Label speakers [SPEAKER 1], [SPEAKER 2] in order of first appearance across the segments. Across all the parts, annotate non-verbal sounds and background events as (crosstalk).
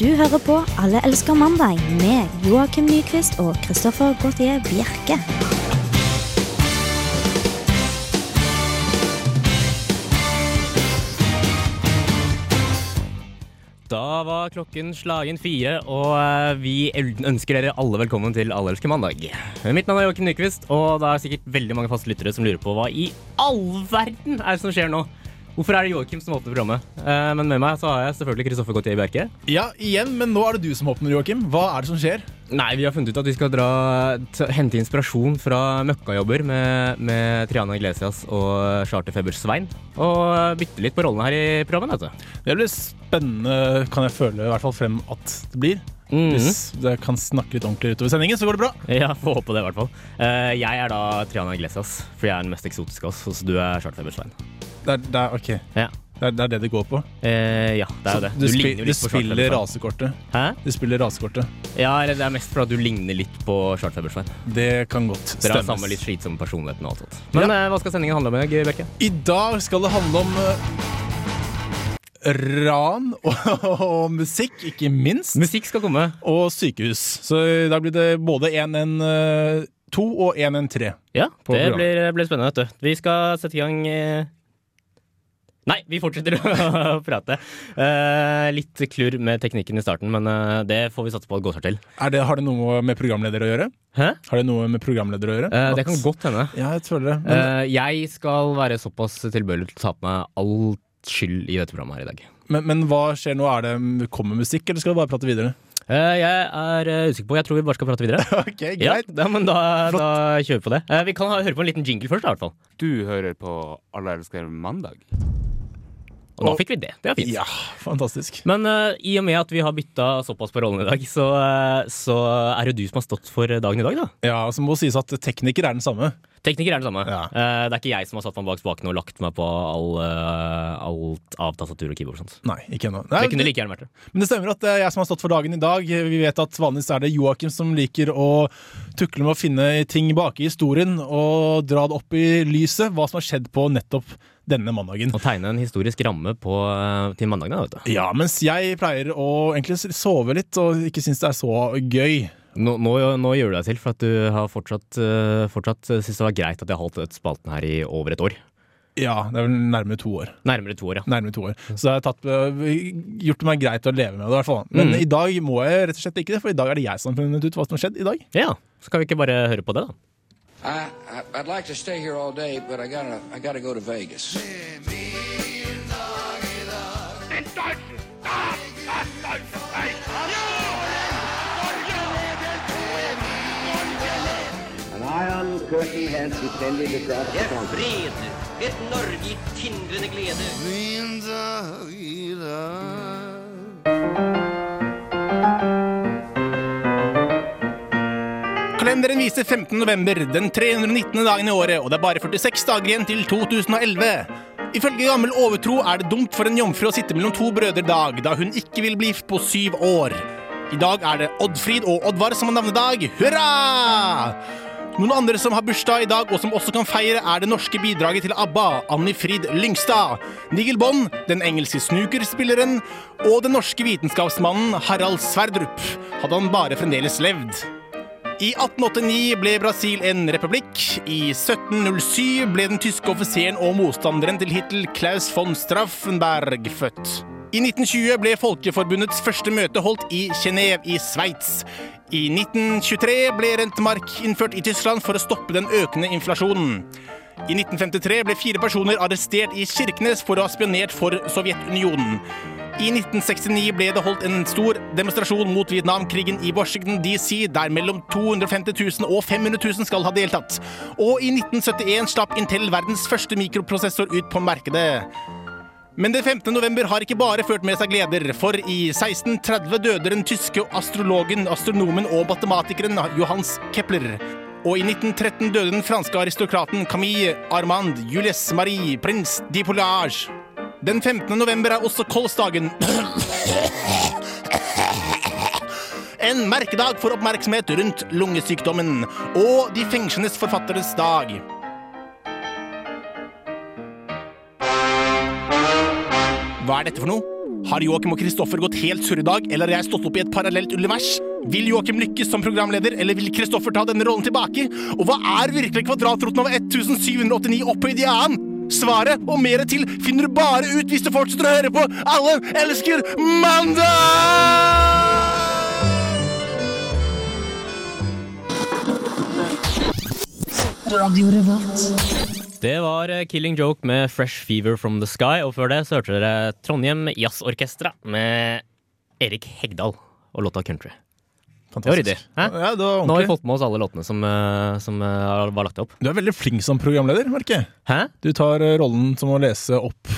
[SPEAKER 1] Du hører på Alle elsker mandag med Joakim Nyquist og Christoffer Gautier Bjerke.
[SPEAKER 2] Da var klokken slagen fire, og eh, vi ønsker dere alle velkommen til Allelske mandag. Mitt navn er Joakim Nyquist, og det er sikkert veldig mange faste lyttere som lurer på hva i all verden er det som skjer nå. Hvorfor er det Joakim som åpner programmet? Eh, Men med meg så har jeg selvfølgelig Kristoffer Gautier Bjerke.
[SPEAKER 3] Ja, igjen, men nå er det du som åpner, Joakim. Hva er det som skjer?
[SPEAKER 2] Nei, vi har funnet ut at vi skal dra, t hente inspirasjon fra møkkajobber med, med Triana Iglesias og Charterfeber Svein. Og bytte litt på rollene her i programmet, altså. vet du.
[SPEAKER 3] Det blir spennende, kan jeg føle i hvert fall frem at det blir.
[SPEAKER 2] Mhm.
[SPEAKER 3] Hvis jeg kan snakke litt ordentlig utover sendingen, så går det bra.
[SPEAKER 2] (laughs) Ja, får håpe det, i hvert fall. Eh, jeg er da Triana Iglesias, for jeg er den mest eksotiske av oss. Så du er Charterfeber Svein.
[SPEAKER 3] Det er, det er, ok.
[SPEAKER 2] Ja.
[SPEAKER 3] det, er, det er det det går på.
[SPEAKER 2] Eh, ja, det er jo det.
[SPEAKER 3] Du, spi-
[SPEAKER 2] ligner jo
[SPEAKER 3] du
[SPEAKER 2] litt på liksom. Charlotte
[SPEAKER 3] spiller
[SPEAKER 2] Febbersvein.
[SPEAKER 3] rasekortet.
[SPEAKER 2] Hæ?
[SPEAKER 3] Du spiller rasekortet.
[SPEAKER 2] Ja, eller det er mest fordi du ligner litt på Charterfeber-Svein.
[SPEAKER 3] Det kan godt
[SPEAKER 2] Dere har
[SPEAKER 3] stemmes.
[SPEAKER 2] samme litt slitsomme personligheten og alt sånt. Men eh, hva skal sendingen handle om i dag, Bjerke?
[SPEAKER 3] I dag skal det handle om eh, ran og, og musikk, ikke minst.
[SPEAKER 2] Musikk skal komme.
[SPEAKER 3] Og sykehus. Så i dag blir det både 112 og 113.
[SPEAKER 2] Ja,
[SPEAKER 3] På
[SPEAKER 2] det
[SPEAKER 3] programmet.
[SPEAKER 2] blir, blir spennende, vet du. Vi skal sette i gang eh, Nei, vi fortsetter (laughs) å prate. Eh, litt klurr med teknikken i starten, men eh, det får vi satse på at går seg til.
[SPEAKER 3] Er det, har det noe med programleder å gjøre?
[SPEAKER 2] Hæ?
[SPEAKER 3] Har det noe med programleder å gjøre?
[SPEAKER 2] Eh, det
[SPEAKER 3] At-
[SPEAKER 2] kan godt hende.
[SPEAKER 3] Ja, jeg føler det. Men,
[SPEAKER 2] Eh, jeg skal være såpass tilbøyelig til å ta på meg all skyld i dette programmet her i dag.
[SPEAKER 3] men, men hva skjer nå? Er det Kommer musikk, eller skal vi bare prate videre?
[SPEAKER 2] Eh, jeg er eh, usikker på Jeg tror vi bare skal prate videre.
[SPEAKER 3] Ok,
[SPEAKER 2] (laughs) Ja, da, men da, da kjører vi på det. Eh, vi kan ha, høre på en liten jingle først, da, i hvert fall.
[SPEAKER 4] Du hører på Alle elsker mandag.
[SPEAKER 2] Og da
[SPEAKER 3] Og-
[SPEAKER 2] fikk vi det. Det er fint.
[SPEAKER 3] Ja, fantastisk.
[SPEAKER 2] Men eh, i og med at vi har bytta såpass på rollene i dag, så, eh, så er det du som har stått for dagen i dag, da.
[SPEAKER 3] Ja, så må sies at tekniker er den samme.
[SPEAKER 2] Tekniker er det samme.
[SPEAKER 3] Ja.
[SPEAKER 2] Eh, det er ikke jeg som har satt meg bak spakene og lagt meg på all, eh, alt av tastatur og keyboard og sånt.
[SPEAKER 3] Nei, ikke ennå.
[SPEAKER 2] Det
[SPEAKER 3] Nei,
[SPEAKER 2] kunne like gjerne vært det.
[SPEAKER 3] Men det stemmer at det er jeg som har stått for dagen i dag. Vi vet at vanligvis er det Joakim som liker å tukle med å finne ting bak i historien og dra det opp i lyset, hva som har skjedd på nettopp denne mandagen.
[SPEAKER 2] Å tegne en historisk ramme på, eh, til mandagene, vet du.
[SPEAKER 3] Ja, mens jeg pleier å egentlig sove litt og ikke syns det er så gøy.
[SPEAKER 2] Nå, nå, nå gjør du deg til, for at du har fortsatt, uh, fortsatt eh, syntes det var greit at jeg holdt dette spalten her i over et år.
[SPEAKER 3] Ja, det er vel nærmere to år.
[SPEAKER 2] Nærmere to år, ja.
[SPEAKER 3] nærmere to år. Så det har tatt, øh, gjort meg greit å leve med det, i hvert fall. Men i dag må jeg rett og slett ikke det, for i dag er det jeg som har funnet ut hva som har skjedd i dag.
[SPEAKER 2] Ja, Så kan vi ikke bare høre på det, da.
[SPEAKER 5] I, I I'd like to stay here all day, but I gotta I gotta go to Vegas.
[SPEAKER 6] An iron curtain has descended across the country.
[SPEAKER 7] fred, et Norge i tindrende glede.
[SPEAKER 3] Kalenderen viser 15. november, den 319. dagen i året, og det er bare 46 dager igjen til 2011. Ifølge gammel overtro er det dumt for en jomfru å sitte mellom to brødre dag, da hun ikke vil bli gift på syv år. I dag er det Oddfrid og Oddvar som har navnedag. Hurra! Noen andre som har bursdag i dag, og som også kan feire, er det norske bidraget til ABBA, Anni Frid Lyngstad, Nigel Bond, den engelske snookerspilleren, og den norske vitenskapsmannen Harald Sverdrup. Hadde han bare fremdeles levd. I 1889 ble Brasil en republikk. I 1707 ble den tyske offiseren og motstanderen til Hitler Klaus von Straffenberg født. I 1920 ble Folkeforbundets første møte holdt i Genéve i Sveits. I 1923 ble rentemark innført i Tyskland for å stoppe den økende inflasjonen. I 1953 ble fire personer arrestert i Kirkenes for å ha spionert for Sovjetunionen. I 1969 ble det holdt en stor demonstrasjon mot Vietnamkrigen i Washington DC, der mellom 250 000 og 500 000 skal ha deltatt. Og i 1971 slapp Intel verdens første mikroprosessor ut på markedet. Men det 15. november har ikke bare ført med seg gleder, for i 1630 døde den tyske astrologen, astronomen og matematikeren Johans Kepler. Og i 1913 døde den franske aristokraten Camille Armand Julius Marie Prince de Poulage. Den 15. november er også kolsdagen. En merkedag for oppmerksomhet rundt lungesykdommen og de fengslenes forfatteres dag. Hva er dette for noe? Har Joakim og Kristoffer gått helt surr i dag, eller har jeg stått opp i et parallelt univers? Vil Joakim lykkes som programleder, eller vil Kristoffer ta denne rollen tilbake? Og hva er virkelig kvadratroten av 1789 opphøyd i annen? Svaret og mer til finner du bare ut hvis du fortsetter å høre på Alle elsker mandag!
[SPEAKER 2] Det var eh, Killing Joke med Fresh Fever From The Sky, og før det så hørte dere Trondheim Jazzorkestra med Erik Hegdal og låta Country. Det var ryddig. Hæ?
[SPEAKER 8] Ja, det
[SPEAKER 2] Nå
[SPEAKER 8] var
[SPEAKER 2] har vi
[SPEAKER 8] ordentlig.
[SPEAKER 2] fått med oss alle låtene som, eh, som eh, var lagt opp.
[SPEAKER 8] Du er veldig flink som programleder, merker jeg.
[SPEAKER 2] Hæ?
[SPEAKER 8] Du tar eh, rollen som å lese opp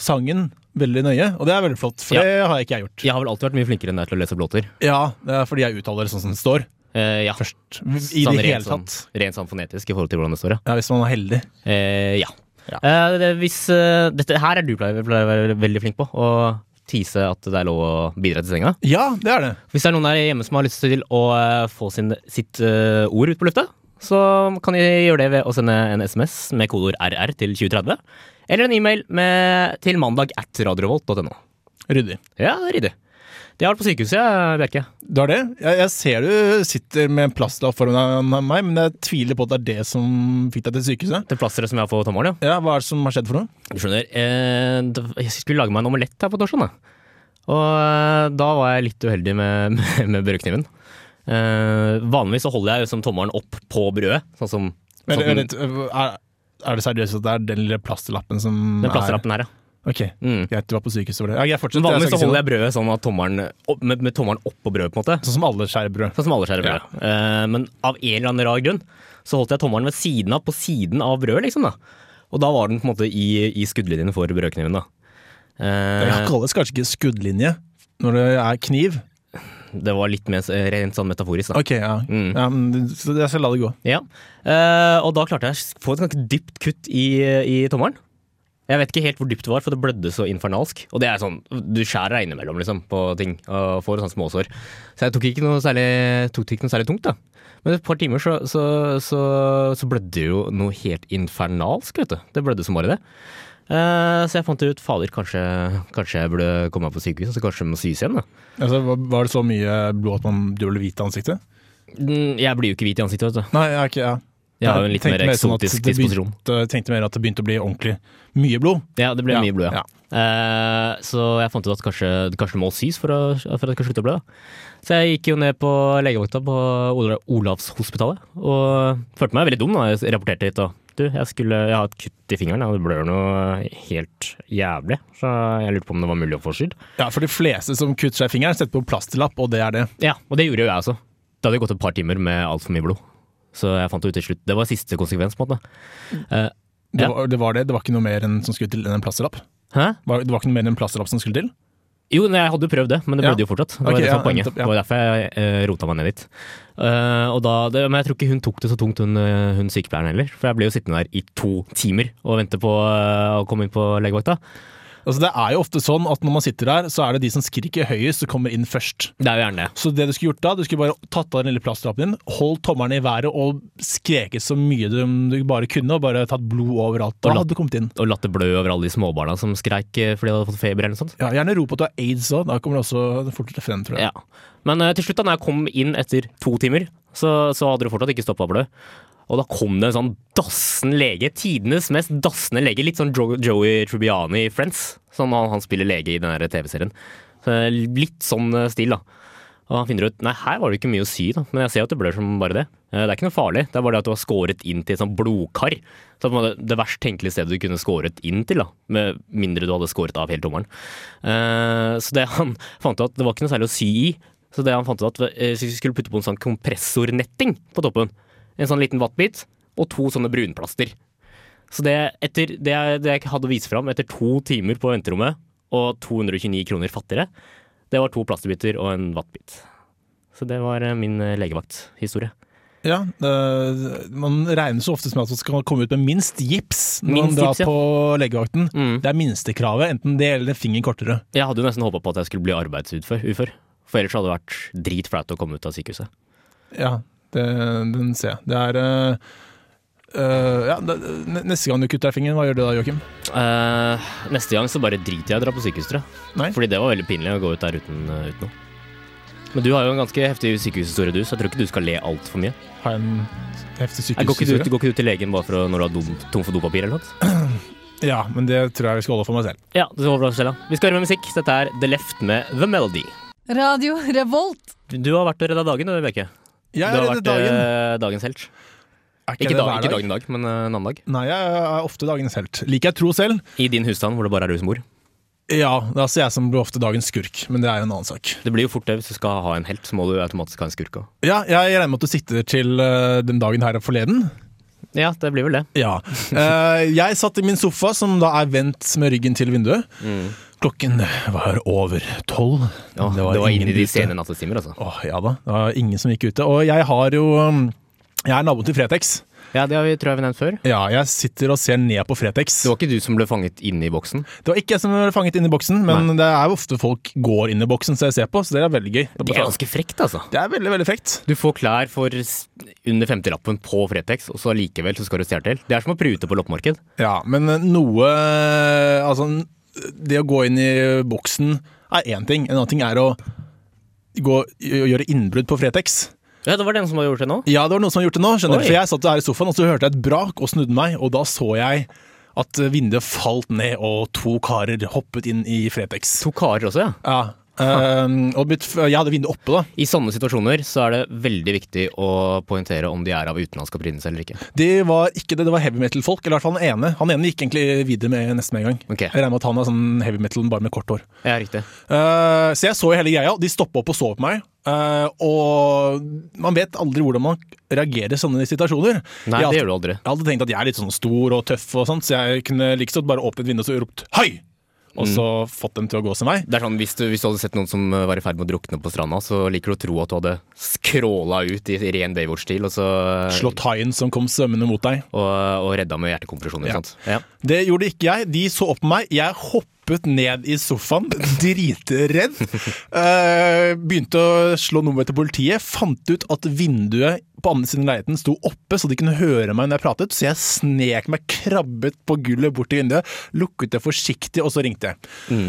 [SPEAKER 8] sangen veldig nøye, og det er veldig flott, for
[SPEAKER 2] Ja.
[SPEAKER 8] det har ikke jeg gjort.
[SPEAKER 2] Jeg har vel alltid vært mye flinkere enn deg til å lese opp låter.
[SPEAKER 8] Ja, det er fordi jeg uttaler det sånn som det står.
[SPEAKER 2] Eh, ja.
[SPEAKER 8] Først. I
[SPEAKER 2] Sånn
[SPEAKER 8] det
[SPEAKER 2] rent
[SPEAKER 8] hele
[SPEAKER 2] sånn-
[SPEAKER 8] tatt.
[SPEAKER 2] Rent sånn fonetisk i forhold til hvordan det står, ja.
[SPEAKER 8] Ja, hvis man er heldig.
[SPEAKER 2] Eh, ja. Eh, det, hvis, eh, dette her er du pleier, pleier å være veldig flink på, å tease at det er lov å bidra til senga.
[SPEAKER 8] Ja, det er det.
[SPEAKER 2] Hvis det er noen der hjemme som har lyst til å eh, få sin, sitt eh, ord ut på lufta, så kan de gjøre det ved å sende en SMS med kodeord RR til 2030. Eller en e-mail med, til mandag at radiorevolt.no.
[SPEAKER 8] Ryddig.
[SPEAKER 2] Ja, det er ryddig. Det har vært på sykehuset, jeg, Bjerke.
[SPEAKER 8] Du har det? Jeg, jeg ser du sitter med en plastlapp foran meg, men jeg tviler på at det er det som fikk deg til sykehuset.
[SPEAKER 2] Det plasteret som jeg får på tommelen,
[SPEAKER 8] Ja, Hva er det som har skjedd for noe?
[SPEAKER 2] ja. Du skjønner, eh, det- jeg skulle lage meg en omelett her på torsdagen, da. Og eh, da var jeg litt uheldig med, (laughs) med, med brødkniven. Eh, vanligvis så holder jeg jo som tommelen opp på brødet, sånn som sånn
[SPEAKER 8] Vent,
[SPEAKER 2] som
[SPEAKER 8] vent, Er, er det seriøst at det er den lille plastlappen som
[SPEAKER 2] den plastelappen her, ja.
[SPEAKER 8] er Ok,
[SPEAKER 2] Mm.
[SPEAKER 8] greit, du var på sykehuset for det. Ja, jeg fortsetter.
[SPEAKER 2] Men
[SPEAKER 8] jeg
[SPEAKER 2] vanligvis
[SPEAKER 8] skal
[SPEAKER 2] så
[SPEAKER 8] ikke si
[SPEAKER 2] holder
[SPEAKER 8] noe.
[SPEAKER 2] jeg brødet sånn at tommeren, opp, med, med tommeren opp på brødet, på en måte.
[SPEAKER 8] Sånn som alle skjærer brød.
[SPEAKER 2] Sånn som alle skjærer brød. Eh, men av en eller annen rar grunn så holdt jeg tommeren ved siden av, på siden av brødet, liksom. da. Og da var den på en måte i, i skuddlinjen for brødkniven, da. Eh,
[SPEAKER 8] Det kalles kanskje ikke skuddlinje når det er kniv.
[SPEAKER 2] det var litt mer s- rent sånn metaforisk, da.
[SPEAKER 8] Ok, ja.
[SPEAKER 2] Mm.
[SPEAKER 8] ja men, så jeg skal la det gå.
[SPEAKER 2] Ja. Eh, og da klarte jeg å s- få et ganske dypt kutt i, i tommeren. Jeg vet ikke helt hvor dypt det var, for det blødde så infernalsk. Og det er sånn, du skjærer deg innimellom liksom, på ting og får sånne småsår. Så jeg tok ikke noe særlig, tok det ikke noe særlig tungt, da. Men et par timer så, så, så, så blødde det jo noe helt infernalsk, vet du. Det blødde som bare det. Eh, så jeg fant ut fader, kanskje, kanskje jeg burde komme meg på sykehuset, så kanskje det må sys igjen. da.
[SPEAKER 8] Altså, var- var det så mye blod at man, du ble hvit i ansiktet?
[SPEAKER 2] Mm, Jeg blir jo ikke hvit i ansiktet, vet du.
[SPEAKER 8] Nei, jeg er ikke ja.
[SPEAKER 2] Jeg har jo en litt
[SPEAKER 8] tenkte
[SPEAKER 2] mer
[SPEAKER 8] sånn at
[SPEAKER 2] eksotisk
[SPEAKER 8] det
[SPEAKER 2] disposisjon.
[SPEAKER 8] Begynte, tenkte mer at det begynte å bli ordentlig mye blod.
[SPEAKER 2] Ja, det ble
[SPEAKER 8] Ja,
[SPEAKER 2] mye blod, ja. Eh, så jeg fant ut at kanskje, kanskje det må sys for, å, for at det kan slutte å blø. da. Så jeg gikk jo ned på legevakta på Ola- Olavshospitalet og følte meg veldig dum da jeg rapporterte hit. Og, du, jeg, skulle, jeg har et kutt i fingeren, og det blør noe helt jævlig. Så jeg lurte på om det var mulig å få skydd.
[SPEAKER 8] Ja, for de fleste som kutter seg i fingeren, setter på plastlapp, og det er det.
[SPEAKER 2] Ja, og det gjorde jo jeg også. Det hadde gått et par timer med altfor mye blod. Så jeg fant det ut til slutt. Det var siste konsekvens, på en måte.
[SPEAKER 8] Det,
[SPEAKER 2] Ja.
[SPEAKER 8] var, det var det. Det var ikke noe mer enn som skulle til enn en plastlapp.
[SPEAKER 2] Hæ?
[SPEAKER 8] Var, det var ikke noe mer enn en plastlapp som skulle til?
[SPEAKER 2] Jo, nei, jeg hadde jo prøvd det, men det
[SPEAKER 8] Ja.
[SPEAKER 2] blødde jo fortsatt. Det var
[SPEAKER 8] Ok,
[SPEAKER 2] det som var
[SPEAKER 8] ja,
[SPEAKER 2] poenget.
[SPEAKER 8] nettopp, ja.
[SPEAKER 2] Det var derfor jeg eh, rota meg ned dit. Eh, og da, det, men jeg tror ikke hun tok det så tungt, hun, eh, hun sykepleieren heller. For jeg ble jo sittende der i to timer og vente på eh, å komme inn på legevakta.
[SPEAKER 8] Altså, det er jo ofte sånn at når man sitter der, så er det de som skriker høyest, som kommer inn først.
[SPEAKER 2] Det er jo gjerne det.
[SPEAKER 8] Så det du skulle gjort da, du skulle bare tatt av den lille plastlappen din, holdt tommelen i været og skreket så mye du, du bare kunne, og bare tatt blod overalt. Da
[SPEAKER 2] Og latt-
[SPEAKER 8] hadde du kommet inn.
[SPEAKER 2] Og latt det blø over alle de småbarna som skreik eh, fordi de hadde fått feber eller noe sånt.
[SPEAKER 8] Ja, gjerne rop at du har aids òg, da kommer det også fortere frem, tror jeg.
[SPEAKER 2] Ja. Men eh, til slutt, da når jeg kom inn etter to timer, så, så hadde det fortsatt ikke stoppa å blø. Og da kom det en sånn dassen lege, tidenes mest dassende lege. Litt sånn Jo- Joey Trubiani i Friends, som han, han spiller lege i den der TV-serien. Så Litt sånn eh, stil, da. Og han finner ut Nei, her var det ikke mye å sy, da. Men jeg ser jo at det blør som bare det. Eh, Det er ikke noe farlig. Det er bare det at du har skåret inn til et sånt blodkar. Så på en måte det verst tenkelige stedet du kunne skåret inn til, da. Med mindre du hadde skåret av hele tommelen. Eh, Så det han fant ut at det var ikke noe særlig å sy i. Så det han fant ut at eh, hvis vi skulle putte på en sånn kompressornetting på toppen. En sånn liten vattbit og to sånne brunplaster. Så det, etter, det, jeg, det jeg hadde å vise fram etter to timer på venterommet og 229 kroner fattigere, det var to plasterbiter og en vattbit. Så det var eh, min eh, legevakthistorie.
[SPEAKER 8] Ja, det, Man regner så ofte som at man skal komme ut med minst gips når
[SPEAKER 2] Minst
[SPEAKER 8] man drar
[SPEAKER 2] gips, ja.
[SPEAKER 8] på legevakten.
[SPEAKER 2] Mm.
[SPEAKER 8] Det er minstekravet, enten det eller fingeren kortere.
[SPEAKER 2] Jeg hadde jo nesten håpa på at jeg skulle bli arbeidsufør, ufør. for ellers hadde det vært dritflaut å komme ut av sykehuset.
[SPEAKER 8] Ja, det, den ser jeg. Det er eh, øh, ja, da, ne- neste gang du kutter deg i fingeren, hva gjør du da, Joakim?
[SPEAKER 2] Eh, neste gang så bare driter jeg i å dra på sykehus, tror jeg.
[SPEAKER 8] Nei?
[SPEAKER 2] Fordi det var veldig pinlig å gå ut der uten, eh, uten noe. Men du har jo en ganske heftig sykehushistorie, du, så jeg tror ikke du skal le altfor mye.
[SPEAKER 8] Har jeg en
[SPEAKER 2] Jeg
[SPEAKER 8] heftig
[SPEAKER 2] går, ikke du,
[SPEAKER 8] sykehushistorie?
[SPEAKER 2] går ikke du til legen bare for å, når du har dum, tom for dopapir eller noe?
[SPEAKER 8] Ja, men det tror jeg vi skal holde for meg selv.
[SPEAKER 2] Ja, det var bra, Stella. Vi skal høre med musikk. Dette er The Left med The Melody.
[SPEAKER 9] Radio Revolt.
[SPEAKER 2] Du har vært og redda dagen, du, Vibeke.
[SPEAKER 8] Jeg
[SPEAKER 2] du
[SPEAKER 8] er
[SPEAKER 2] har
[SPEAKER 8] redd
[SPEAKER 2] vært
[SPEAKER 8] dagen.
[SPEAKER 2] eh, dagens helt.
[SPEAKER 8] Er
[SPEAKER 2] Ikke,
[SPEAKER 8] det
[SPEAKER 2] dag,
[SPEAKER 8] hver
[SPEAKER 2] ikke dagen i dag, men eh, en annen dag.
[SPEAKER 8] Nei, jeg er ofte dagens helt. Liker jeg tro selv?
[SPEAKER 2] I din husstand hvor det bare er rusmor.
[SPEAKER 8] Ja, det er altså jeg som blir ofte dagens skurk, men det er jo en annen sak.
[SPEAKER 2] Det blir jo fort det. Hvis du skal ha en helt, så må du automatisk ha en skurk òg.
[SPEAKER 8] Ja, jeg regner med at du sikter til øh, den dagen her forleden.
[SPEAKER 2] Ja, det blir vel det.
[SPEAKER 8] Ja. (laughs) Eh, jeg satt i min sofa, som da er vendt med ryggen til vinduet.
[SPEAKER 2] Mm.
[SPEAKER 8] Klokken var over tolv.
[SPEAKER 2] Ja, det var, inn i de
[SPEAKER 8] ute.
[SPEAKER 2] sene nattetimer, altså.
[SPEAKER 8] Åh, ja da. Det var ingen som gikk ute. Og jeg har jo um, Jeg er naboen til Fretex.
[SPEAKER 2] Ja, det har vi, tror jeg vi nevnt før.
[SPEAKER 8] Ja, jeg sitter og ser ned på Fretex.
[SPEAKER 2] Det var ikke du som ble fanget inne i boksen?
[SPEAKER 8] Det var ikke jeg som ble fanget inn i boksen, men det er jo ofte folk går inn i boksen, så jeg ser på, så det er veldig gøy.
[SPEAKER 2] Det er ganske frekt, altså.
[SPEAKER 8] Det er veldig, veldig frekt.
[SPEAKER 2] Du får klær for s- under 50-lappen på Fretex, og så likevel så skal du stjele til. Det er som å prute på loppemarked.
[SPEAKER 8] Ja, men eh, noe Altså, det å gå inn i boksen er én ting. En annen ting er å gå, gjøre innbrudd på Fretex.
[SPEAKER 2] Ja, det var den som hadde gjort det nå.
[SPEAKER 8] Ja, det var noen som har gjort det nå, skjønner du.
[SPEAKER 2] Oi.
[SPEAKER 8] For jeg satt her i sofaen, og så hørte jeg et brak og snudde meg, og da så jeg at eh, vinduet falt ned, og to karer hoppet inn i Fretex.
[SPEAKER 2] To karer også, ja.
[SPEAKER 8] Ja. (laughs) ehm, og mitt, jeg hadde vinduet oppe, da.
[SPEAKER 2] I sånne situasjoner så er det veldig viktig å poengtere om de er av utenlandsk opprinnelse eller ikke.
[SPEAKER 8] De var ikke det, det var heavy metal-folk. Eller i hvert fall han ene. Han ene gikk egentlig videre med nesten med en gang.
[SPEAKER 2] Ok.
[SPEAKER 8] Jeg regner med at han er sånn heavy metal bare med kort hår.
[SPEAKER 2] Ja, riktig.
[SPEAKER 8] Eh, så jeg så jo hele greia. De stoppa opp og så på meg. Eh, og man vet aldri hvordan man reagerer i sånne
[SPEAKER 2] Nei,
[SPEAKER 8] situasjoner. jeg,
[SPEAKER 2] det
[SPEAKER 8] hadde-
[SPEAKER 2] gjør du aldri.
[SPEAKER 8] jeg hadde tenkt at jeg er litt sånn stor og tøff, og sånt, så jeg kunne like godt bare åpnet et vindu og så ropt 'hei!' Og
[SPEAKER 2] Mm.
[SPEAKER 8] så fått dem til å gå sin vei.
[SPEAKER 2] Det er sånn, hvis du, hvis du hadde sett noen som eh, var i ferd med å drukne på stranda, så liker du å tro at du hadde skråla ut i ren Baywatch-stil, og så
[SPEAKER 8] Slått haien som kom svømmende mot deg.
[SPEAKER 2] Og, og redda med hjertekompresjoner,
[SPEAKER 8] Ja.
[SPEAKER 2] ikke sant. Ja.
[SPEAKER 8] Det gjorde ikke jeg. De så opp på meg. Jeg hoppet ned i sofaen, (laughs) dritredd. Eh, begynte å slå nummeret til politiet. Fant ut at vinduet på andre siden av leiligheten sto oppe, så de kunne høre meg når jeg pratet. Så jeg snek meg, krabbet på gulvet bort til vinduet, lukket det forsiktig, og så ringte jeg.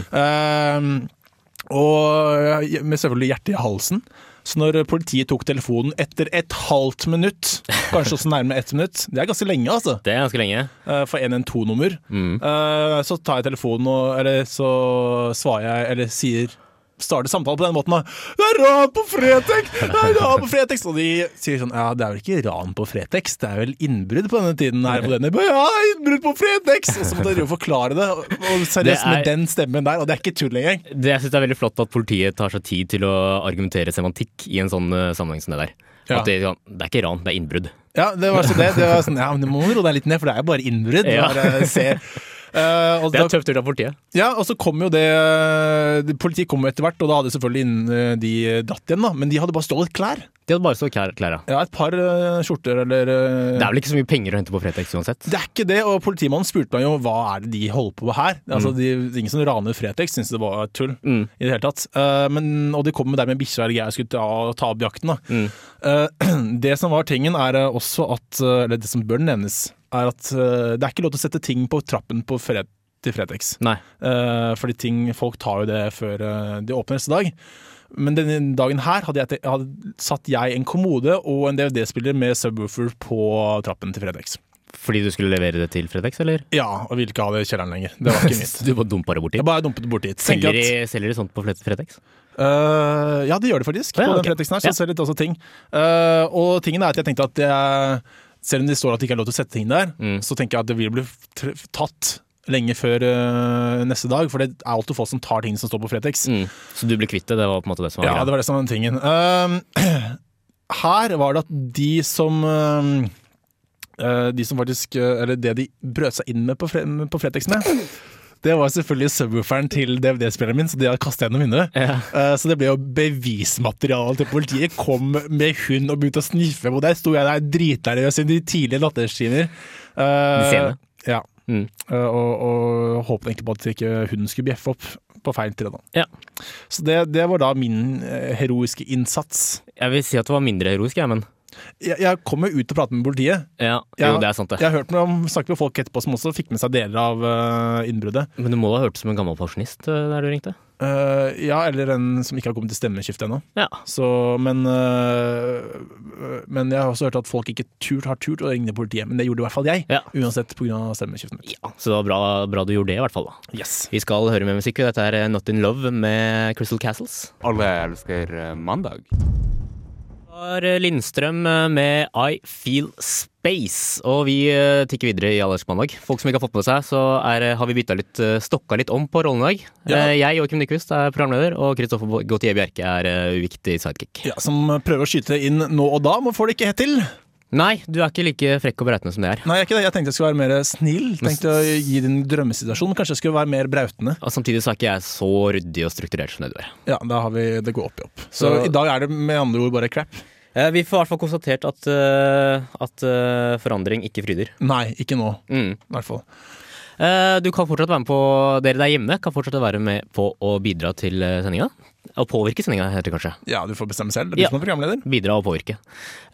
[SPEAKER 8] Eh, og jeg- med selvfølgelig hjertet i halsen. Så når politiet tok telefonen etter et halvt minutt, kanskje også nærmere ett minutt Det er ganske lenge, altså
[SPEAKER 2] Det er ganske lenge.
[SPEAKER 8] eh, for 112-nummer.
[SPEAKER 2] Mm.
[SPEAKER 8] Eh, så tar jeg telefonen og eller, så svarer jeg eller sier Starter samtalen på den måten. da. 'Det er ran på Fretex!' Det er ran på Fretex Og de sier sånn 'Ja, det er vel ikke ran på Fretex, det er vel innbrudd på denne tiden her på denne.' 'Ja, innbrudd på Fretex!' Og så måtte jeg drive og forklare det. Og og
[SPEAKER 2] Det
[SPEAKER 8] seriøst,
[SPEAKER 2] er-
[SPEAKER 8] med den stemmen der, og det er ikke tull engang.
[SPEAKER 2] Det, jeg synes det er veldig flott at politiet tar seg tid til å argumentere semantikk i en sånn eh, sammenheng som det der.
[SPEAKER 8] Ja.
[SPEAKER 2] At det, ja, det er ikke ran, det er innbrudd.
[SPEAKER 8] Ja, det var så det. det var sånn, ja, men du må roe deg litt ned, for det er jo bare innbrudd.
[SPEAKER 2] Ja.
[SPEAKER 8] Bare se. Eh, og
[SPEAKER 2] Det
[SPEAKER 8] da-
[SPEAKER 2] er tøft gjort av politiet.
[SPEAKER 8] Ja, og så kom jo det eh, det- Politiet kom jo etter hvert, og da hadde selvfølgelig inn, eh, de dratt igjen, da. Men de hadde bare stjålet klær.
[SPEAKER 2] De hadde bare så klær, klær, ja.
[SPEAKER 8] Ja, et par eh, skjorter eller eh,
[SPEAKER 2] Det er vel ikke så mye penger å hente på Fretex uansett.
[SPEAKER 8] det er ikke det, og politimannen spurte meg jo hva er det de holder på med her. Altså, de, Ingen som raner Fretex, syntes det var tull
[SPEAKER 2] Mm.
[SPEAKER 8] i det hele tatt. Eh, men, og de kom med der med bikkja eller greier og skulle ta, ta opp jakten. Da. Eh, det som var tingen, er eh, også at eh, Eller det som bør nevnes, er at eh, det er ikke lov til å sette ting på trappen på Fre- til Fretex.
[SPEAKER 2] Nei.
[SPEAKER 8] Eh, fordi ting, folk tar jo det før eh, de åpner neste dag. Men denne dagen her hadde, jeg, te- hadde satt jeg en kommode og en DVD-spiller med subwoofer på trappen til Fredex.
[SPEAKER 2] Fordi du skulle levere det til Fretex, eller?
[SPEAKER 8] Ja, og ville ikke ha det i kjelleren lenger. Det (laughs) var ikke
[SPEAKER 2] (laughs)
[SPEAKER 8] mitt.
[SPEAKER 2] Du bare dumpa det borti.
[SPEAKER 8] Jeg bare dumpet det bort dit. Tenker
[SPEAKER 2] Selger de,
[SPEAKER 8] at,
[SPEAKER 2] selger de sånt på Fre- Fretex?
[SPEAKER 8] Eh, ja, det gjør det faktisk.
[SPEAKER 2] Ja,
[SPEAKER 8] På
[SPEAKER 2] ok.
[SPEAKER 8] den Fredriksen her
[SPEAKER 2] Ja.
[SPEAKER 8] så ser jeg litt også ting. Eh, og tingen er at jeg tenkte at det er, selv om det står at det ikke er lov til å sette ting der,
[SPEAKER 2] Mm.
[SPEAKER 8] så tenker jeg at det vil bli tr- tatt lenge før eh, neste dag, for det er alltid folk som tar ting som står på Fretex.
[SPEAKER 2] Mm. Så du ble kvitt det? Det var på en måte det som var
[SPEAKER 8] Ja,
[SPEAKER 2] greia.
[SPEAKER 8] det var det som var den tingen. Ehm, (clears throat) her var det at de som ehm, eh, De som faktisk eh, Eller det de brøt seg inn med på, fre på Fretex med, det var selvfølgelig subwooferen til DVD-spilleren min, så de hadde kastet gjennom vinduet. Eh, så det ble jo bevismateriale til politiet. Kom med hund og begynte å sniffe på deg. Sto jeg der dritnervøs i de tidlige natterstimer.
[SPEAKER 2] De sene.
[SPEAKER 8] ja.
[SPEAKER 2] Mm.
[SPEAKER 8] Eh, og, og håpet egentlig på at ikke hunden skulle bjeffe opp på feil tre. da.
[SPEAKER 2] Ja.
[SPEAKER 8] Så det, det var da min eh, heroiske innsats.
[SPEAKER 2] Jeg vil si at det var mindre heroisk, jeg, men
[SPEAKER 8] Jeg, jeg kom jo ut og pratet med politiet.
[SPEAKER 2] Ja,
[SPEAKER 8] Ja.
[SPEAKER 2] jo, det er sant, det.
[SPEAKER 8] Jeg har hørt meg om snakke med folk etterpå som også fikk med seg deler av eh, innbruddet.
[SPEAKER 2] Men du må ha hørt som en gammel pensjonist eh, der du ringte?
[SPEAKER 8] Eh, ja, eller en som ikke har kommet til stemmeskiftet ennå.
[SPEAKER 2] Ja.
[SPEAKER 8] Så, men, øh, men jeg har også hørt at folk ikke turt, har turt å ringe politiet, men det gjorde i hvert fall jeg.
[SPEAKER 2] Ja.
[SPEAKER 8] Uansett pga. stemmeskiftet mitt.
[SPEAKER 2] ja. Så det var bra, bra du gjorde det, i hvert fall. da. Vi skal høre mer musikk. og Dette er eh, Not In Love med Crystal Castles.
[SPEAKER 4] Alle elsker eh, mandag.
[SPEAKER 2] Det var eh, Lindstrøm med I Feel Space. Og vi eh, tikker videre i Allersk mandag. Folk som ikke har fått med seg, så er, har vi bytta litt, eh, stokka litt om på rollen i dag.
[SPEAKER 8] Ja.
[SPEAKER 2] Eh, Jeg, Joakim Nyquist, er programleder, og Kristoffer Gautier Bjerke er eh, uviktig sidekick.
[SPEAKER 8] Ja, som prøver å skyte inn nå og da, men får det ikke helt til.
[SPEAKER 2] Nei, du er ikke like frekk og bereitende som det er.
[SPEAKER 8] Nei, jeg er ikke det. Jeg tenkte jeg skulle være mer snill. Tenkte å gi din drømmesituasjon. men Kanskje jeg skulle være mer brautende.
[SPEAKER 2] Og samtidig så er ikke jeg så ryddig og strukturert som det du er.
[SPEAKER 8] Ja, da har vi det går opp i opp. Så,
[SPEAKER 2] Så-
[SPEAKER 8] i dag er det med andre ord bare crap.
[SPEAKER 2] Eh, Vi får i hvert fall konstatert at, eh, at eh, forandring ikke fryder.
[SPEAKER 8] Nei, ikke nå.
[SPEAKER 2] Mm.
[SPEAKER 8] I hvert fall.
[SPEAKER 2] Eh, Du kan fortsatt være med på Dere der hjemme kan fortsatt være med på å bidra til sendinga. Og påvirke sendinga, heter det kanskje.
[SPEAKER 8] Ja, du får bestemme selv. Det er du
[SPEAKER 2] Ja.
[SPEAKER 8] som er programleder.
[SPEAKER 2] Bidra og påvirke.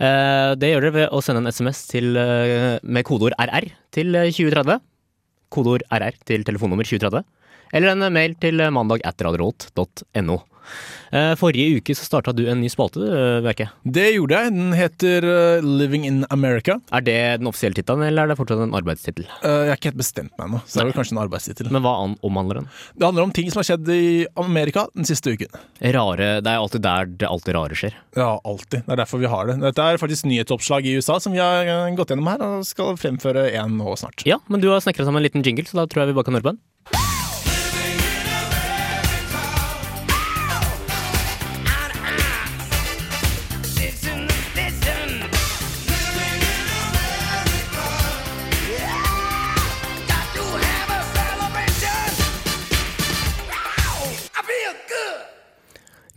[SPEAKER 2] Eh, Det gjør dere ved å sende en SMS til, eh, med kodeord RR til eh, 2030. Kodeord RR til telefonnummer 2030. Eller en eh, mail til eh, mandag at radiorolt.no. Eh, Forrige uke så starta du en ny spalte, du, Bjerke.
[SPEAKER 8] Det gjorde jeg. Den heter eh, Living in America.
[SPEAKER 2] Er det den offisielle tittelen, eller er det fortsatt en arbeidstittel?
[SPEAKER 8] Eh, jeg har ikke helt bestemt meg ennå, så det er vel kanskje en arbeidstittel.
[SPEAKER 2] Men hva an- omhandler den?
[SPEAKER 8] Det handler om ting som har skjedd i Amerika den siste uken.
[SPEAKER 2] Rare, Det er alltid der det alltid rare skjer.
[SPEAKER 8] Ja, alltid. Det er derfor vi har det. Dette er faktisk nyhetsoppslag i USA som vi har eh, gått gjennom her, og skal fremføre en nå snart.
[SPEAKER 2] Ja, men du har snekra sammen en liten jingle, så da tror jeg vi bare kan høre på den.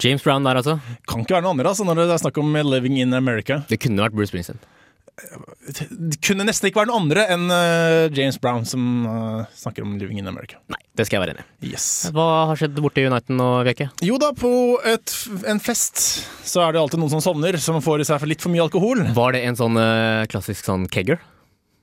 [SPEAKER 2] James Brown der, altså.
[SPEAKER 8] Kan ikke være noe annet altså, når det er snakk om 'living in America'.
[SPEAKER 2] Det kunne vært Bruce Springsteen.
[SPEAKER 8] Det kunne nesten ikke være noe andre enn eh, James Brown som eh, snakker om 'living in America'.
[SPEAKER 2] Nei, det skal jeg være enig i.
[SPEAKER 8] Yes.
[SPEAKER 2] Hva har skjedd borte i Uniten nå, Veke?
[SPEAKER 8] Jo da, på et, en fest så er det alltid noen som sovner, som får i seg for litt for mye alkohol.
[SPEAKER 2] Var det en sånn eh, klassisk sånn kegger?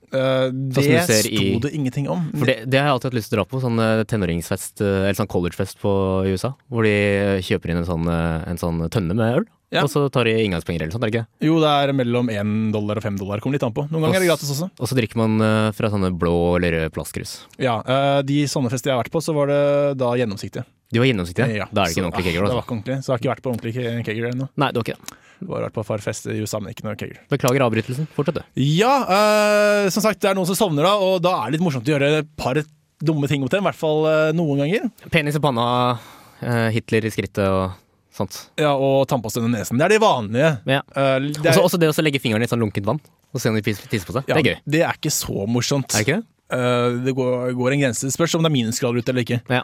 [SPEAKER 8] Eh,
[SPEAKER 2] som
[SPEAKER 8] det
[SPEAKER 2] du
[SPEAKER 8] sto
[SPEAKER 2] ser i-
[SPEAKER 8] det ingenting om.
[SPEAKER 2] For det, det har jeg alltid hatt lyst til å dra på. Sånn eh, tenåringsfest, eh, eller sånn collegefest på, i USA. Hvor de eh, kjøper inn en sånn, eh, en sånn tønne med øl,
[SPEAKER 8] Ja.
[SPEAKER 2] og så tar de inngangspenger eller sånt, er det ikke?
[SPEAKER 8] Jo, det er mellom én dollar og fem dollar. Kommer litt an på. Noen ganger er det gratis også.
[SPEAKER 2] Og så drikker man eh, fra sånne blå eller røde plastkrus.
[SPEAKER 8] Ja, eh, De sånne fester jeg har vært på, så var det da gjennomsiktige.
[SPEAKER 2] De var gjennomsiktige?
[SPEAKER 8] Ja,
[SPEAKER 2] da er det ikke
[SPEAKER 8] så-
[SPEAKER 2] en ordentlig
[SPEAKER 8] ah,
[SPEAKER 2] kegger,
[SPEAKER 8] Det var
[SPEAKER 2] altså.
[SPEAKER 8] ikke ordentlig, så jeg har ikke vært på ordentlig ke- kegger ennå.
[SPEAKER 2] Nei, det var ikke det.
[SPEAKER 8] Bare vært på et par fester i USA, men ikke noe kegger.
[SPEAKER 2] Beklager avbrytelsen. Fortsett, du.
[SPEAKER 8] Ja, eh, som sagt, det er noen som sovner da, og da er det litt morsomt å gjøre et par dumme ting mot dem. I hvert fall eh, noen ganger.
[SPEAKER 2] Penis i panna, eh, Hitler i skrittet og sånt.
[SPEAKER 8] Ja, Og tannpåste under nesen. Det er de vanlige.
[SPEAKER 2] Ja.
[SPEAKER 8] Eh, det, er,
[SPEAKER 2] Også, også det å så legge fingeren i sånn lunkent vann og se om de pis- tisser på seg.
[SPEAKER 8] ja,
[SPEAKER 2] Det er gøy.
[SPEAKER 8] Det er ikke så morsomt.
[SPEAKER 2] Er det ikke det?
[SPEAKER 8] Eh, det går, går en grense. Det spørs om det er minusgrader ute eller ikke.
[SPEAKER 2] Ja.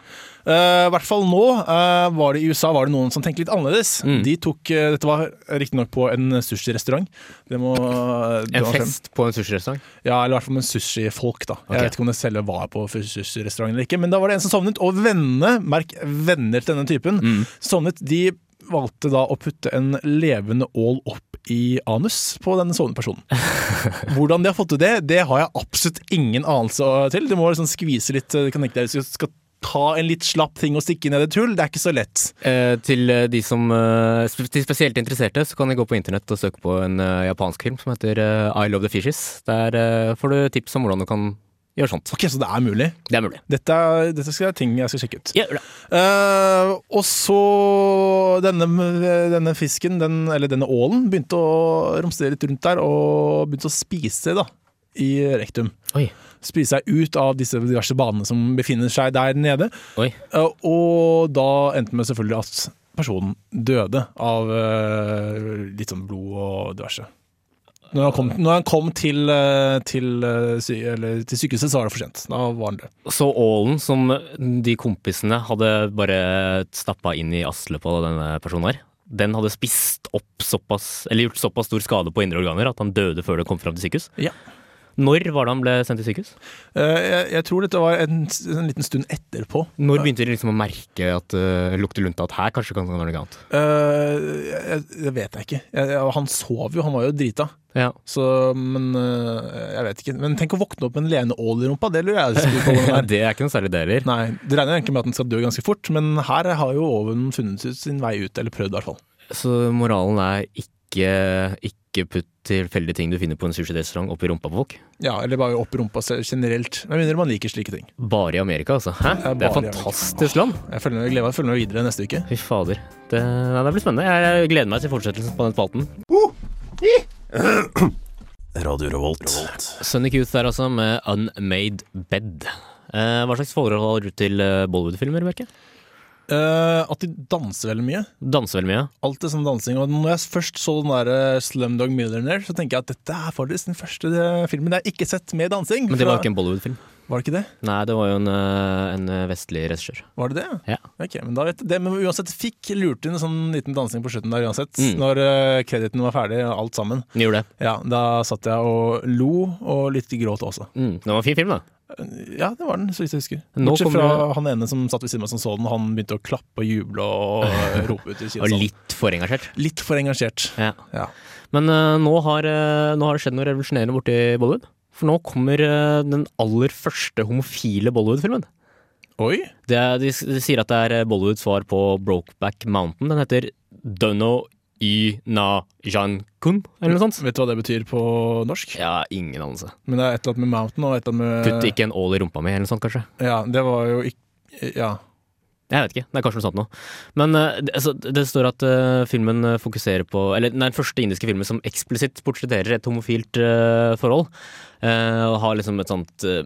[SPEAKER 8] Eh, I hvert fall nå eh, var det i USA var det noen som tenkte litt annerledes.
[SPEAKER 2] Mm.
[SPEAKER 8] De tok, eh, Dette var riktignok på en sushirestaurant. Det må det
[SPEAKER 2] En
[SPEAKER 8] må frem.
[SPEAKER 2] fest på en sushirestaurant.
[SPEAKER 8] Ja, eller i hvert fall med sushifolk, da.
[SPEAKER 2] Ok.
[SPEAKER 8] Jeg vet ikke om det selve var på sushirestaurant eller ikke, men da var det en som sovnet, og vennene, merk venner til denne typen,
[SPEAKER 2] Mm.
[SPEAKER 8] sovnet. De valgte da å putte en levende ål opp i anus på denne sovende
[SPEAKER 2] (laughs)
[SPEAKER 8] personen. Hvordan de har fått til det, det har jeg absolutt ingen anelse til. Du må liksom skvise litt, du kan tenke deg hvis du skal ta en litt slapp ting og stikke ned et hull, det er ikke så lett.
[SPEAKER 2] Eh, til eh, de som eh, sp- de spesielt interesserte, så kan de gå på internett og søke på en eh, japansk film som heter eh, I Love The Fishes. Der eh, får du tips om hvordan du kan gjøre sånt.
[SPEAKER 8] Ok, så det er mulig.
[SPEAKER 2] Det er mulig.
[SPEAKER 8] Dette, er- dette skal være ting jeg skal sjekke ut.
[SPEAKER 2] Gjør det.
[SPEAKER 8] Eh, og så denne, denne fisken, den, eller denne ålen, begynte å romstere litt rundt der og begynte å spise da, i rektum.
[SPEAKER 2] Oi.
[SPEAKER 8] Spise seg ut av disse diverse banene som befinner seg der nede.
[SPEAKER 2] Oi.
[SPEAKER 8] Eh, og da endte det med selvfølgelig at personen døde av eh, litt sånn blod og diverse. Når han kom, når han kom til, eh, til, eh, sy eller, til sykehuset, så var det for sent. Da var han død.
[SPEAKER 2] Så ålen som de kompisene hadde bare stappa inn i aslet på denne personen her, den hadde spist opp såpass, eller gjort såpass stor skade på indre organer at han døde før det kom fram til sykehus?
[SPEAKER 8] Ja.
[SPEAKER 2] Når var det han ble sendt til sykehus?
[SPEAKER 8] Eh, jeg, jeg tror dette var en, s- en liten stund etterpå.
[SPEAKER 2] Når begynte de liksom å merke at uh, lukter lunta at her kanskje kan det være noe annet?
[SPEAKER 8] Eh, jeg, det vet jeg ikke. Jeg, jeg, han sov jo, han var jo drita.
[SPEAKER 2] (laughs) Ja.
[SPEAKER 8] Så, men eh, jeg vet ikke. Men tenk å våkne opp med en leneål i rumpa, det lurer jeg
[SPEAKER 2] (laughs)
[SPEAKER 8] på. hvordan det er.
[SPEAKER 2] det er ikke noe særlig det heller.
[SPEAKER 8] Nei, Det regner egentlig med at den skal dø ganske fort, men her har jo oven funnet ut sin vei ut, eller prøvd i hvert fall.
[SPEAKER 2] Så moralen er ikke, ikke putt tilfeldige ting du finner på en sushirestaurant opp i rumpa på folk.
[SPEAKER 8] Ja, Eller bare opp rumpa se- generelt. Med mindre man liker slike ting.
[SPEAKER 2] Bare i Amerika, altså. Hæ?
[SPEAKER 8] er
[SPEAKER 2] Det er
[SPEAKER 8] bare i Amerika.
[SPEAKER 2] fantastisk land.
[SPEAKER 8] Jeg følger med, jeg gleder meg, jeg følger med videre neste uke.
[SPEAKER 2] Fy fader. Det, nei, det blir spennende. Jeg, jeg gleder meg til fortsettelsen på den spalten.
[SPEAKER 10] Uh! (clears throat) Radio Revolt.
[SPEAKER 2] Sunny Youth der altså, med Unmade Bed. Eh, hva slags forhold har du til eh, Bollywood-filmer, Bjerke?
[SPEAKER 8] Eh, at de danser veldig mye.
[SPEAKER 2] Danser veldig mye.
[SPEAKER 8] Alt det sånn dansing. Og når jeg først så den der eh, Slumdog Millionaire, så tenker jeg at dette er faktisk den første eh, filmen jeg ikke har sett med dansing.
[SPEAKER 2] Men det var
[SPEAKER 8] fra-
[SPEAKER 2] jo ikke en Bollywood-film.
[SPEAKER 8] Var det ikke det?
[SPEAKER 2] Nei, det var jo en, eh, en vestlig regissør.
[SPEAKER 8] Var det det?
[SPEAKER 2] Ja.
[SPEAKER 8] Ok, men da vet jeg det. Men uansett, fikk lurt inn en sånn liten dansing på slutten der uansett.
[SPEAKER 2] Mm.
[SPEAKER 8] Når eh, krediten var ferdig, og alt sammen.
[SPEAKER 2] Den gjorde det.
[SPEAKER 8] Ja, da satt jeg og lo, og litt gråt også.
[SPEAKER 2] Mm. Det var en fin film, da.
[SPEAKER 8] Ja, det var den, så vidt jeg husker.
[SPEAKER 2] Nå
[SPEAKER 8] Bortsett
[SPEAKER 2] kommer
[SPEAKER 8] fra han ene som satt ved siden av meg som så den, han begynte å klappe og juble
[SPEAKER 2] (laughs)
[SPEAKER 8] og eh, rope ut i
[SPEAKER 2] Og
[SPEAKER 8] kinosalen.
[SPEAKER 2] litt for engasjert.
[SPEAKER 8] Litt for engasjert.
[SPEAKER 2] sånn. Ja.
[SPEAKER 8] Ja.
[SPEAKER 2] Men eh, nå, har, eh, nå har det skjedd noe revolusjonerende borti Bollywood. For nå kommer eh, den aller første homofile Bollywood-filmen.
[SPEAKER 8] Oi!
[SPEAKER 2] Det er- De, s- de sier at det er eh, Bollywoods svar på Brokeback Mountain. Den heter Dono Y Na Jan Kun, eller noe sånt.
[SPEAKER 8] Vet du hva det betyr på norsk?
[SPEAKER 2] Ja, ingen anelse.
[SPEAKER 8] Men det er et eller annet med Mountain og et eller annet med
[SPEAKER 2] Putt ikke en ål i rumpa mi, eller noe sånt, kanskje.
[SPEAKER 8] Ja, det var jo ikke Ja.
[SPEAKER 2] Jeg vet ikke. Det er kanskje noe sånt noe. Men eh, det- altså, det står at eh, filmen eh, fokuserer på Eller den er den første indiske filmen som eksplisitt portretterer et homofilt eh, forhold. eh, og har liksom et sånt eh,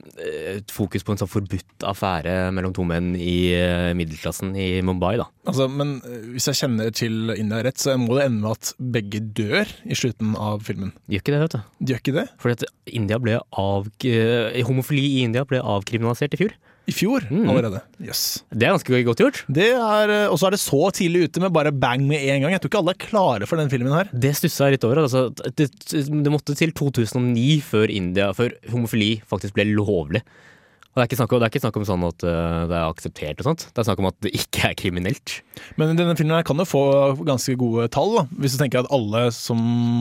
[SPEAKER 2] et fokus på en sånn forbudt affære mellom to menn i eh, middelklassen i Mumbai, da.
[SPEAKER 8] Altså, men eh, hvis jeg kjenner til India rett, så må det ende med at begge dør i slutten av filmen.
[SPEAKER 2] Gjør ikke det, vet du.
[SPEAKER 8] De gjør ikke det?
[SPEAKER 2] Fordi at India ble av, eh, homofili i India ble avkriminalisert i fjor.
[SPEAKER 8] I fjor
[SPEAKER 2] Mm.
[SPEAKER 8] allerede. Yes.
[SPEAKER 2] Det er ganske godt gjort.
[SPEAKER 8] Det er, eh, Og så er det så tidlig ute med bare bang med en gang. Jeg tror ikke alle er klare for den filmen her.
[SPEAKER 2] Det stussa jeg litt over. Altså, det, det måtte til 2009 før, India, før homofili faktisk ble lovlig. Og det er ikke snakk om, det er ikke snakk om sånn at eh, det er akseptert og sånt. Det er snakk om at det ikke er kriminelt.
[SPEAKER 8] Men denne filmen her kan jo få ganske gode tall, da. hvis du tenker at alle som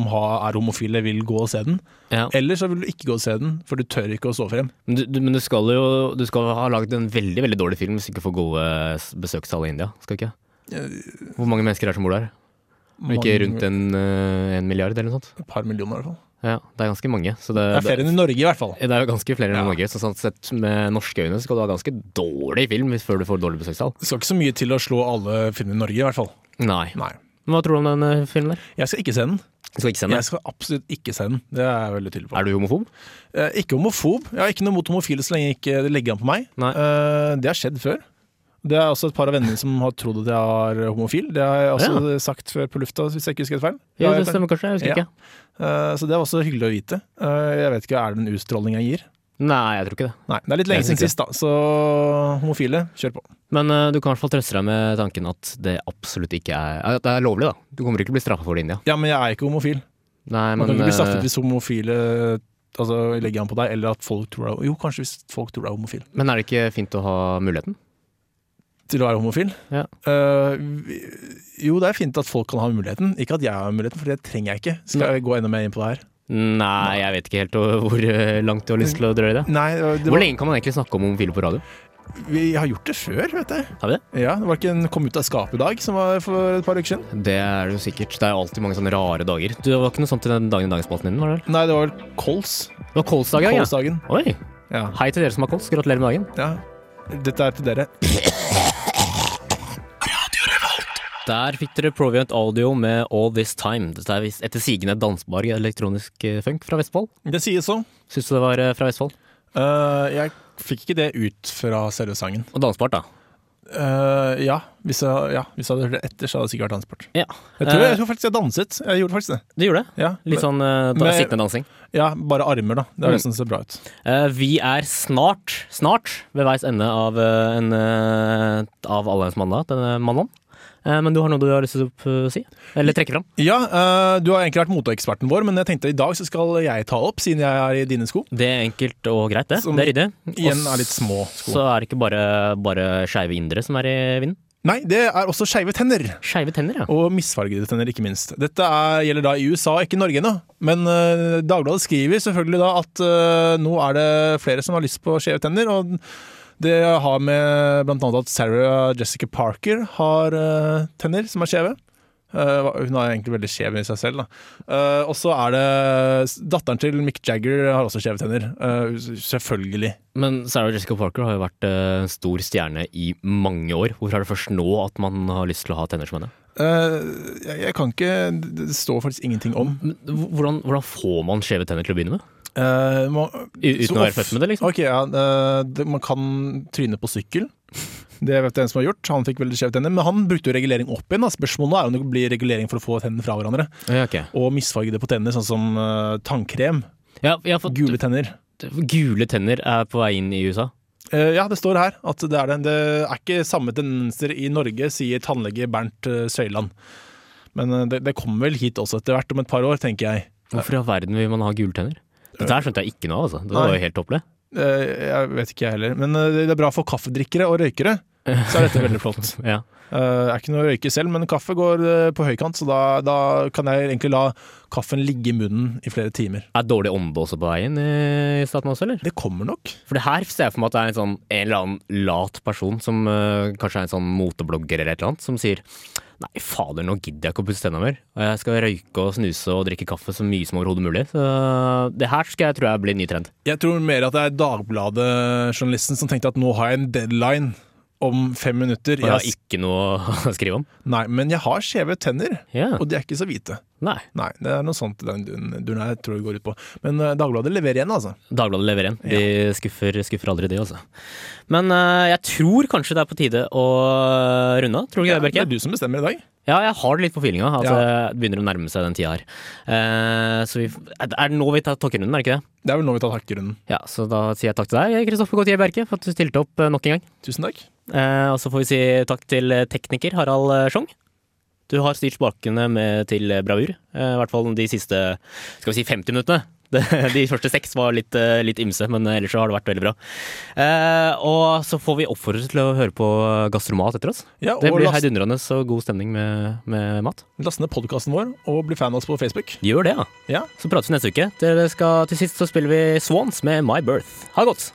[SPEAKER 8] har, er homofile, vil gå og se den. Eller så vil du ikke gå og se den, for du tør ikke å stå frem.
[SPEAKER 2] Eh, Men, du, du, men du skal jo du skal ha lagd en veldig veldig dårlig film hvis du ikke får gode s- besøkstall i India. Skal du ikke? Hvor mange mennesker er det som bor der? Er det Ikke rundt en, eh, en milliard eller noe sånt?
[SPEAKER 8] Et par millioner, i hvert fall.
[SPEAKER 2] Ja, det er ganske mange. Så det,
[SPEAKER 8] Det er flere enn i Norge, i hvert fall.
[SPEAKER 2] det, det er jo ganske flere enn Norge. Så sånn sett med norske øyne skal du ha ganske dårlig film hvis- før du får dårlig besøkstall.
[SPEAKER 8] Det skal ikke så mye til å slå alle filmer i Norge, i hvert fall.
[SPEAKER 2] Nei.
[SPEAKER 8] Nei.
[SPEAKER 2] Men Hva tror du om den eh, filmen der?
[SPEAKER 8] Jeg skal ikke se den.
[SPEAKER 2] Du skal ikke se den?
[SPEAKER 8] Jeg skal absolutt ikke se den. Det er jeg veldig tydelig på.
[SPEAKER 2] Er du homofob?
[SPEAKER 8] Eh, ikke homofob. Jeg har ikke noe mot homofile så lenge jeg ikke det legger an på meg.
[SPEAKER 2] Nei.
[SPEAKER 8] Eh, det har skjedd før. Det er også et par av vennene mine som har trodd at jeg er homofil. Det har jeg også sagt før på lufta, hvis jeg ikke husker helt feil.
[SPEAKER 2] Ja,
[SPEAKER 8] Ja,
[SPEAKER 2] det
[SPEAKER 8] jeg-
[SPEAKER 2] stemmer kanskje. Jeg husker
[SPEAKER 8] Ja.
[SPEAKER 2] ikke.
[SPEAKER 8] Eh, så det er også hyggelig å vite. Eh, jeg vet ikke, er det en utstråling jeg gir?
[SPEAKER 2] Nei, jeg tror ikke det.
[SPEAKER 8] Nei, det er litt lenge
[SPEAKER 2] Jeg
[SPEAKER 8] siden
[SPEAKER 2] synes
[SPEAKER 8] sist, da. Så homofile, kjør på.
[SPEAKER 2] Men eh, du kan i hvert fall trøste deg med tanken at det absolutt ikke er At det er lovlig, da. Du kommer ikke til å bli straffa for det i India.
[SPEAKER 8] Ja, men jeg er ikke homofil.
[SPEAKER 2] Nei, men
[SPEAKER 8] Man kan ikke
[SPEAKER 2] eh,
[SPEAKER 8] bli straffet hvis homofile altså, legger an på deg, eller at folk tror deg Jo, kanskje hvis folk tror deg homofil.
[SPEAKER 2] Men er det ikke fint å ha muligheten?
[SPEAKER 8] til å være homofil.
[SPEAKER 2] Ja.
[SPEAKER 8] Eh, vi- jo, det er fint at folk kan ha muligheten. Ikke at jeg har muligheten, for det trenger jeg ikke. Skal jeg gå enda mer inn på det her?
[SPEAKER 2] Nei, jeg vet ikke helt (laughs) eh, hvor eh, langt du har lyst til å drøye det.
[SPEAKER 8] Nei, det
[SPEAKER 2] Hvor
[SPEAKER 8] var,
[SPEAKER 2] lenge kan man egentlig snakke om homofile på radio?
[SPEAKER 8] vi har gjort det før, vet jeg.
[SPEAKER 2] Har vi det?
[SPEAKER 8] Ja, det var ikke en kom ut av skapet i dag som var for et par uker siden?
[SPEAKER 2] Det er det jo sikkert. Det er jo alltid mange sånne rare dager. Du, det var ikke noe sånt i den dagen i dagsspalten din, var det vel?
[SPEAKER 8] Nei, det var vel kols.
[SPEAKER 2] Det var kolsdag i dag, ja.
[SPEAKER 8] Kolsdagen.
[SPEAKER 2] Oi.
[SPEAKER 8] Ja.
[SPEAKER 2] Hei til dere som har kols. Gratulerer med dagen.
[SPEAKER 8] ja. Dette er til dere.
[SPEAKER 2] Der fikk dere Proviant Audio med All This Time. Dette er visst etter sigende dansbar elektronisk eh, funk fra Vestfold.
[SPEAKER 8] Det sies så.
[SPEAKER 2] Syns du det var eh, fra Vestfold?
[SPEAKER 8] Eh, jeg fikk ikke det ut fra selve sangen.
[SPEAKER 2] Og dansbart, da.
[SPEAKER 8] Eh, ja, hvis jeg, ja, hvis jeg hadde hørt det etter, så hadde det sikkert vært dansbart.
[SPEAKER 2] Ja.
[SPEAKER 8] Jeg tror,
[SPEAKER 2] Eh,
[SPEAKER 8] jeg tror faktisk jeg danset. Jeg gjorde faktisk det.
[SPEAKER 2] Du gjorde det.
[SPEAKER 8] Ja,
[SPEAKER 2] Litt sånn eh, da,
[SPEAKER 8] men-
[SPEAKER 2] sittende dansing.
[SPEAKER 8] ja bare armer, da. Det er det
[SPEAKER 2] Mm.
[SPEAKER 8] som ser bra ut.
[SPEAKER 2] Eh, vi er snart, snart ved veis ende av, eh, en, eh, av Allheims mandag, denne mandagen. Eh, Men du har noe du har lyst til å eh, si? Eller trekke fram?
[SPEAKER 8] Ja, eh, du har egentlig vært moteeksperten vår, men jeg tenkte i dag så skal jeg ta opp, siden jeg er i dine sko.
[SPEAKER 2] Det er enkelt og greit, det.
[SPEAKER 8] Som
[SPEAKER 2] det er ryddig.
[SPEAKER 8] Igjen
[SPEAKER 2] Og
[SPEAKER 8] er litt små sko.
[SPEAKER 2] Så er det ikke bare, bare skeive indre som er i vinden.
[SPEAKER 8] Nei, det er også skeive tenner.
[SPEAKER 2] Skeive tenner, ja.
[SPEAKER 8] Og misfargede tenner, ikke minst. Dette er, gjelder da i USA, ikke i Norge ennå. Men eh, Dagbladet skriver selvfølgelig da at eh, nå er det flere som har lyst på skjeve tenner. Og det har med bl.a. at Sarah Jessica Parker har eh, tenner som er skjeve. Eh, hva- hun er egentlig veldig skjev i seg selv. da Eh, Og så er det Datteren til Mick Jagger har også skjeve tenner. Eh, selvfølgelig.
[SPEAKER 2] Men Sarah Jessica Parker har jo vært eh, stor stjerne i mange år. Hvorfor er det først nå at man har lyst til å ha tenner som henne?
[SPEAKER 8] Eh, jeg, jeg kan ikke Det det står faktisk ingenting om.
[SPEAKER 2] Men h- Hvordan, hvordan får man skjeve tenner til å begynne med?
[SPEAKER 8] Eh, må,
[SPEAKER 2] U- uten
[SPEAKER 8] så
[SPEAKER 2] å være
[SPEAKER 8] of-
[SPEAKER 2] født med det, liksom?
[SPEAKER 8] Ok, ja, eh, det, Man kan tryne på sykkel. Det vet jeg en som har gjort. Han fikk veldig skjeve tenner, men han brukte jo regulering opp igjen. Da. Spørsmålet er om det blir regulering for å få tennene fra hverandre.
[SPEAKER 2] Ja,
[SPEAKER 8] Og misfargede på tenner, sånn som eh, tannkrem.
[SPEAKER 2] jeg har fått
[SPEAKER 8] Gule
[SPEAKER 2] gule,
[SPEAKER 8] tenner.
[SPEAKER 2] tenner er på vei inn i USA.
[SPEAKER 8] Eh, ja, det står her at det er, det. det er ikke samme tendenser i Norge, sier tannlege Bernt eh, Søyland. Men eh, det, det kommer vel hit også etter hvert, om et par år, tenker jeg.
[SPEAKER 2] Hvorfor i all verden vil man ha gule tenner? Dette her skjønte jeg ikke noe av, altså. Det
[SPEAKER 8] Nei.
[SPEAKER 2] var jo helt tåpelig.
[SPEAKER 8] Eh, jeg vet ikke, jeg heller. Men eh, det er bra for kaffedrikkere og røykere. Så er dette veldig flott. (laughs)
[SPEAKER 2] Ja.
[SPEAKER 8] Jeg er ikke noe å røyke selv, men kaffe går eh, på høykant, så da, da kan jeg egentlig la kaffen ligge i munnen i flere timer.
[SPEAKER 2] Er dårlig ånde også på vei inn i staten også, eller?
[SPEAKER 8] Det kommer nok.
[SPEAKER 2] For det her ser jeg for meg at det er en, sånn, en eller annen lat person som øh, kanskje er en sånn moteblogger eller et eller annet, som sier Nei, fader, nå gidder jeg ikke å pusse tenna mer. Og Jeg skal røyke og snuse og drikke kaffe så mye som overhodet mulig. Så det her skal jeg tror jeg blir en ny trend.
[SPEAKER 8] Jeg tror mer at det er Dagbladet-journalisten som tenkte at nå har jeg en deadline om fem minutter.
[SPEAKER 2] Og jeg har
[SPEAKER 8] Jeg,
[SPEAKER 2] ikke noe (laughs) å skrive om.
[SPEAKER 8] nei, men jeg har skjeve tenner,
[SPEAKER 2] Ja.
[SPEAKER 8] og de er ikke så hvite.
[SPEAKER 2] Nei.
[SPEAKER 8] Nei, det er noe sånt den duren duren her tror jeg går ut på. Men eh, Dagbladet leverer igjen, altså.
[SPEAKER 2] Dagbladet lever igjen. De skuffer, skuffer aldri, de, altså. Men øh, jeg tror kanskje det er på tide å eh, runde av. Tror du ikke det, Bjerke?
[SPEAKER 8] Det er du som bestemmer i dag.
[SPEAKER 2] Ja, jeg har det litt på feelinga. At
[SPEAKER 8] Ja.
[SPEAKER 2] det begynner å nærme seg den tida her. Eh, så vi, er det nå vi tar tokkerunden, er det ikke det?
[SPEAKER 8] Det er vel nå vi tar hakkerunden.
[SPEAKER 2] Ja, Så da sier jeg takk til deg, Kristoffer Gautier Bjerke, for at du stilte opp eh, nok en gang.
[SPEAKER 8] Tusen takk.
[SPEAKER 2] Eh, og så får vi si takk til tekniker Harald eh, Schjong. Du har styrt spakene med til eh, bravur. Eh, I hvert fall de siste skal vi si 50 minuttene. (laughs) Det- De første seks var litt, eh, litt ymse, men ellers så har det vært veldig bra. Eh, og så får vi oppfordre til å høre på Gastromat etter oss.
[SPEAKER 8] Ja,
[SPEAKER 2] Det
[SPEAKER 8] og
[SPEAKER 2] blir
[SPEAKER 8] last,
[SPEAKER 2] heidundrende og god stemning med, med mat.
[SPEAKER 8] last ned podkasten vår og bli fan av oss på Facebook.
[SPEAKER 2] Gjør det, da.
[SPEAKER 8] Ja.
[SPEAKER 2] Så prates vi neste uke. Dere skal, til sist så spiller vi Swans med My Birth. Ha det godt!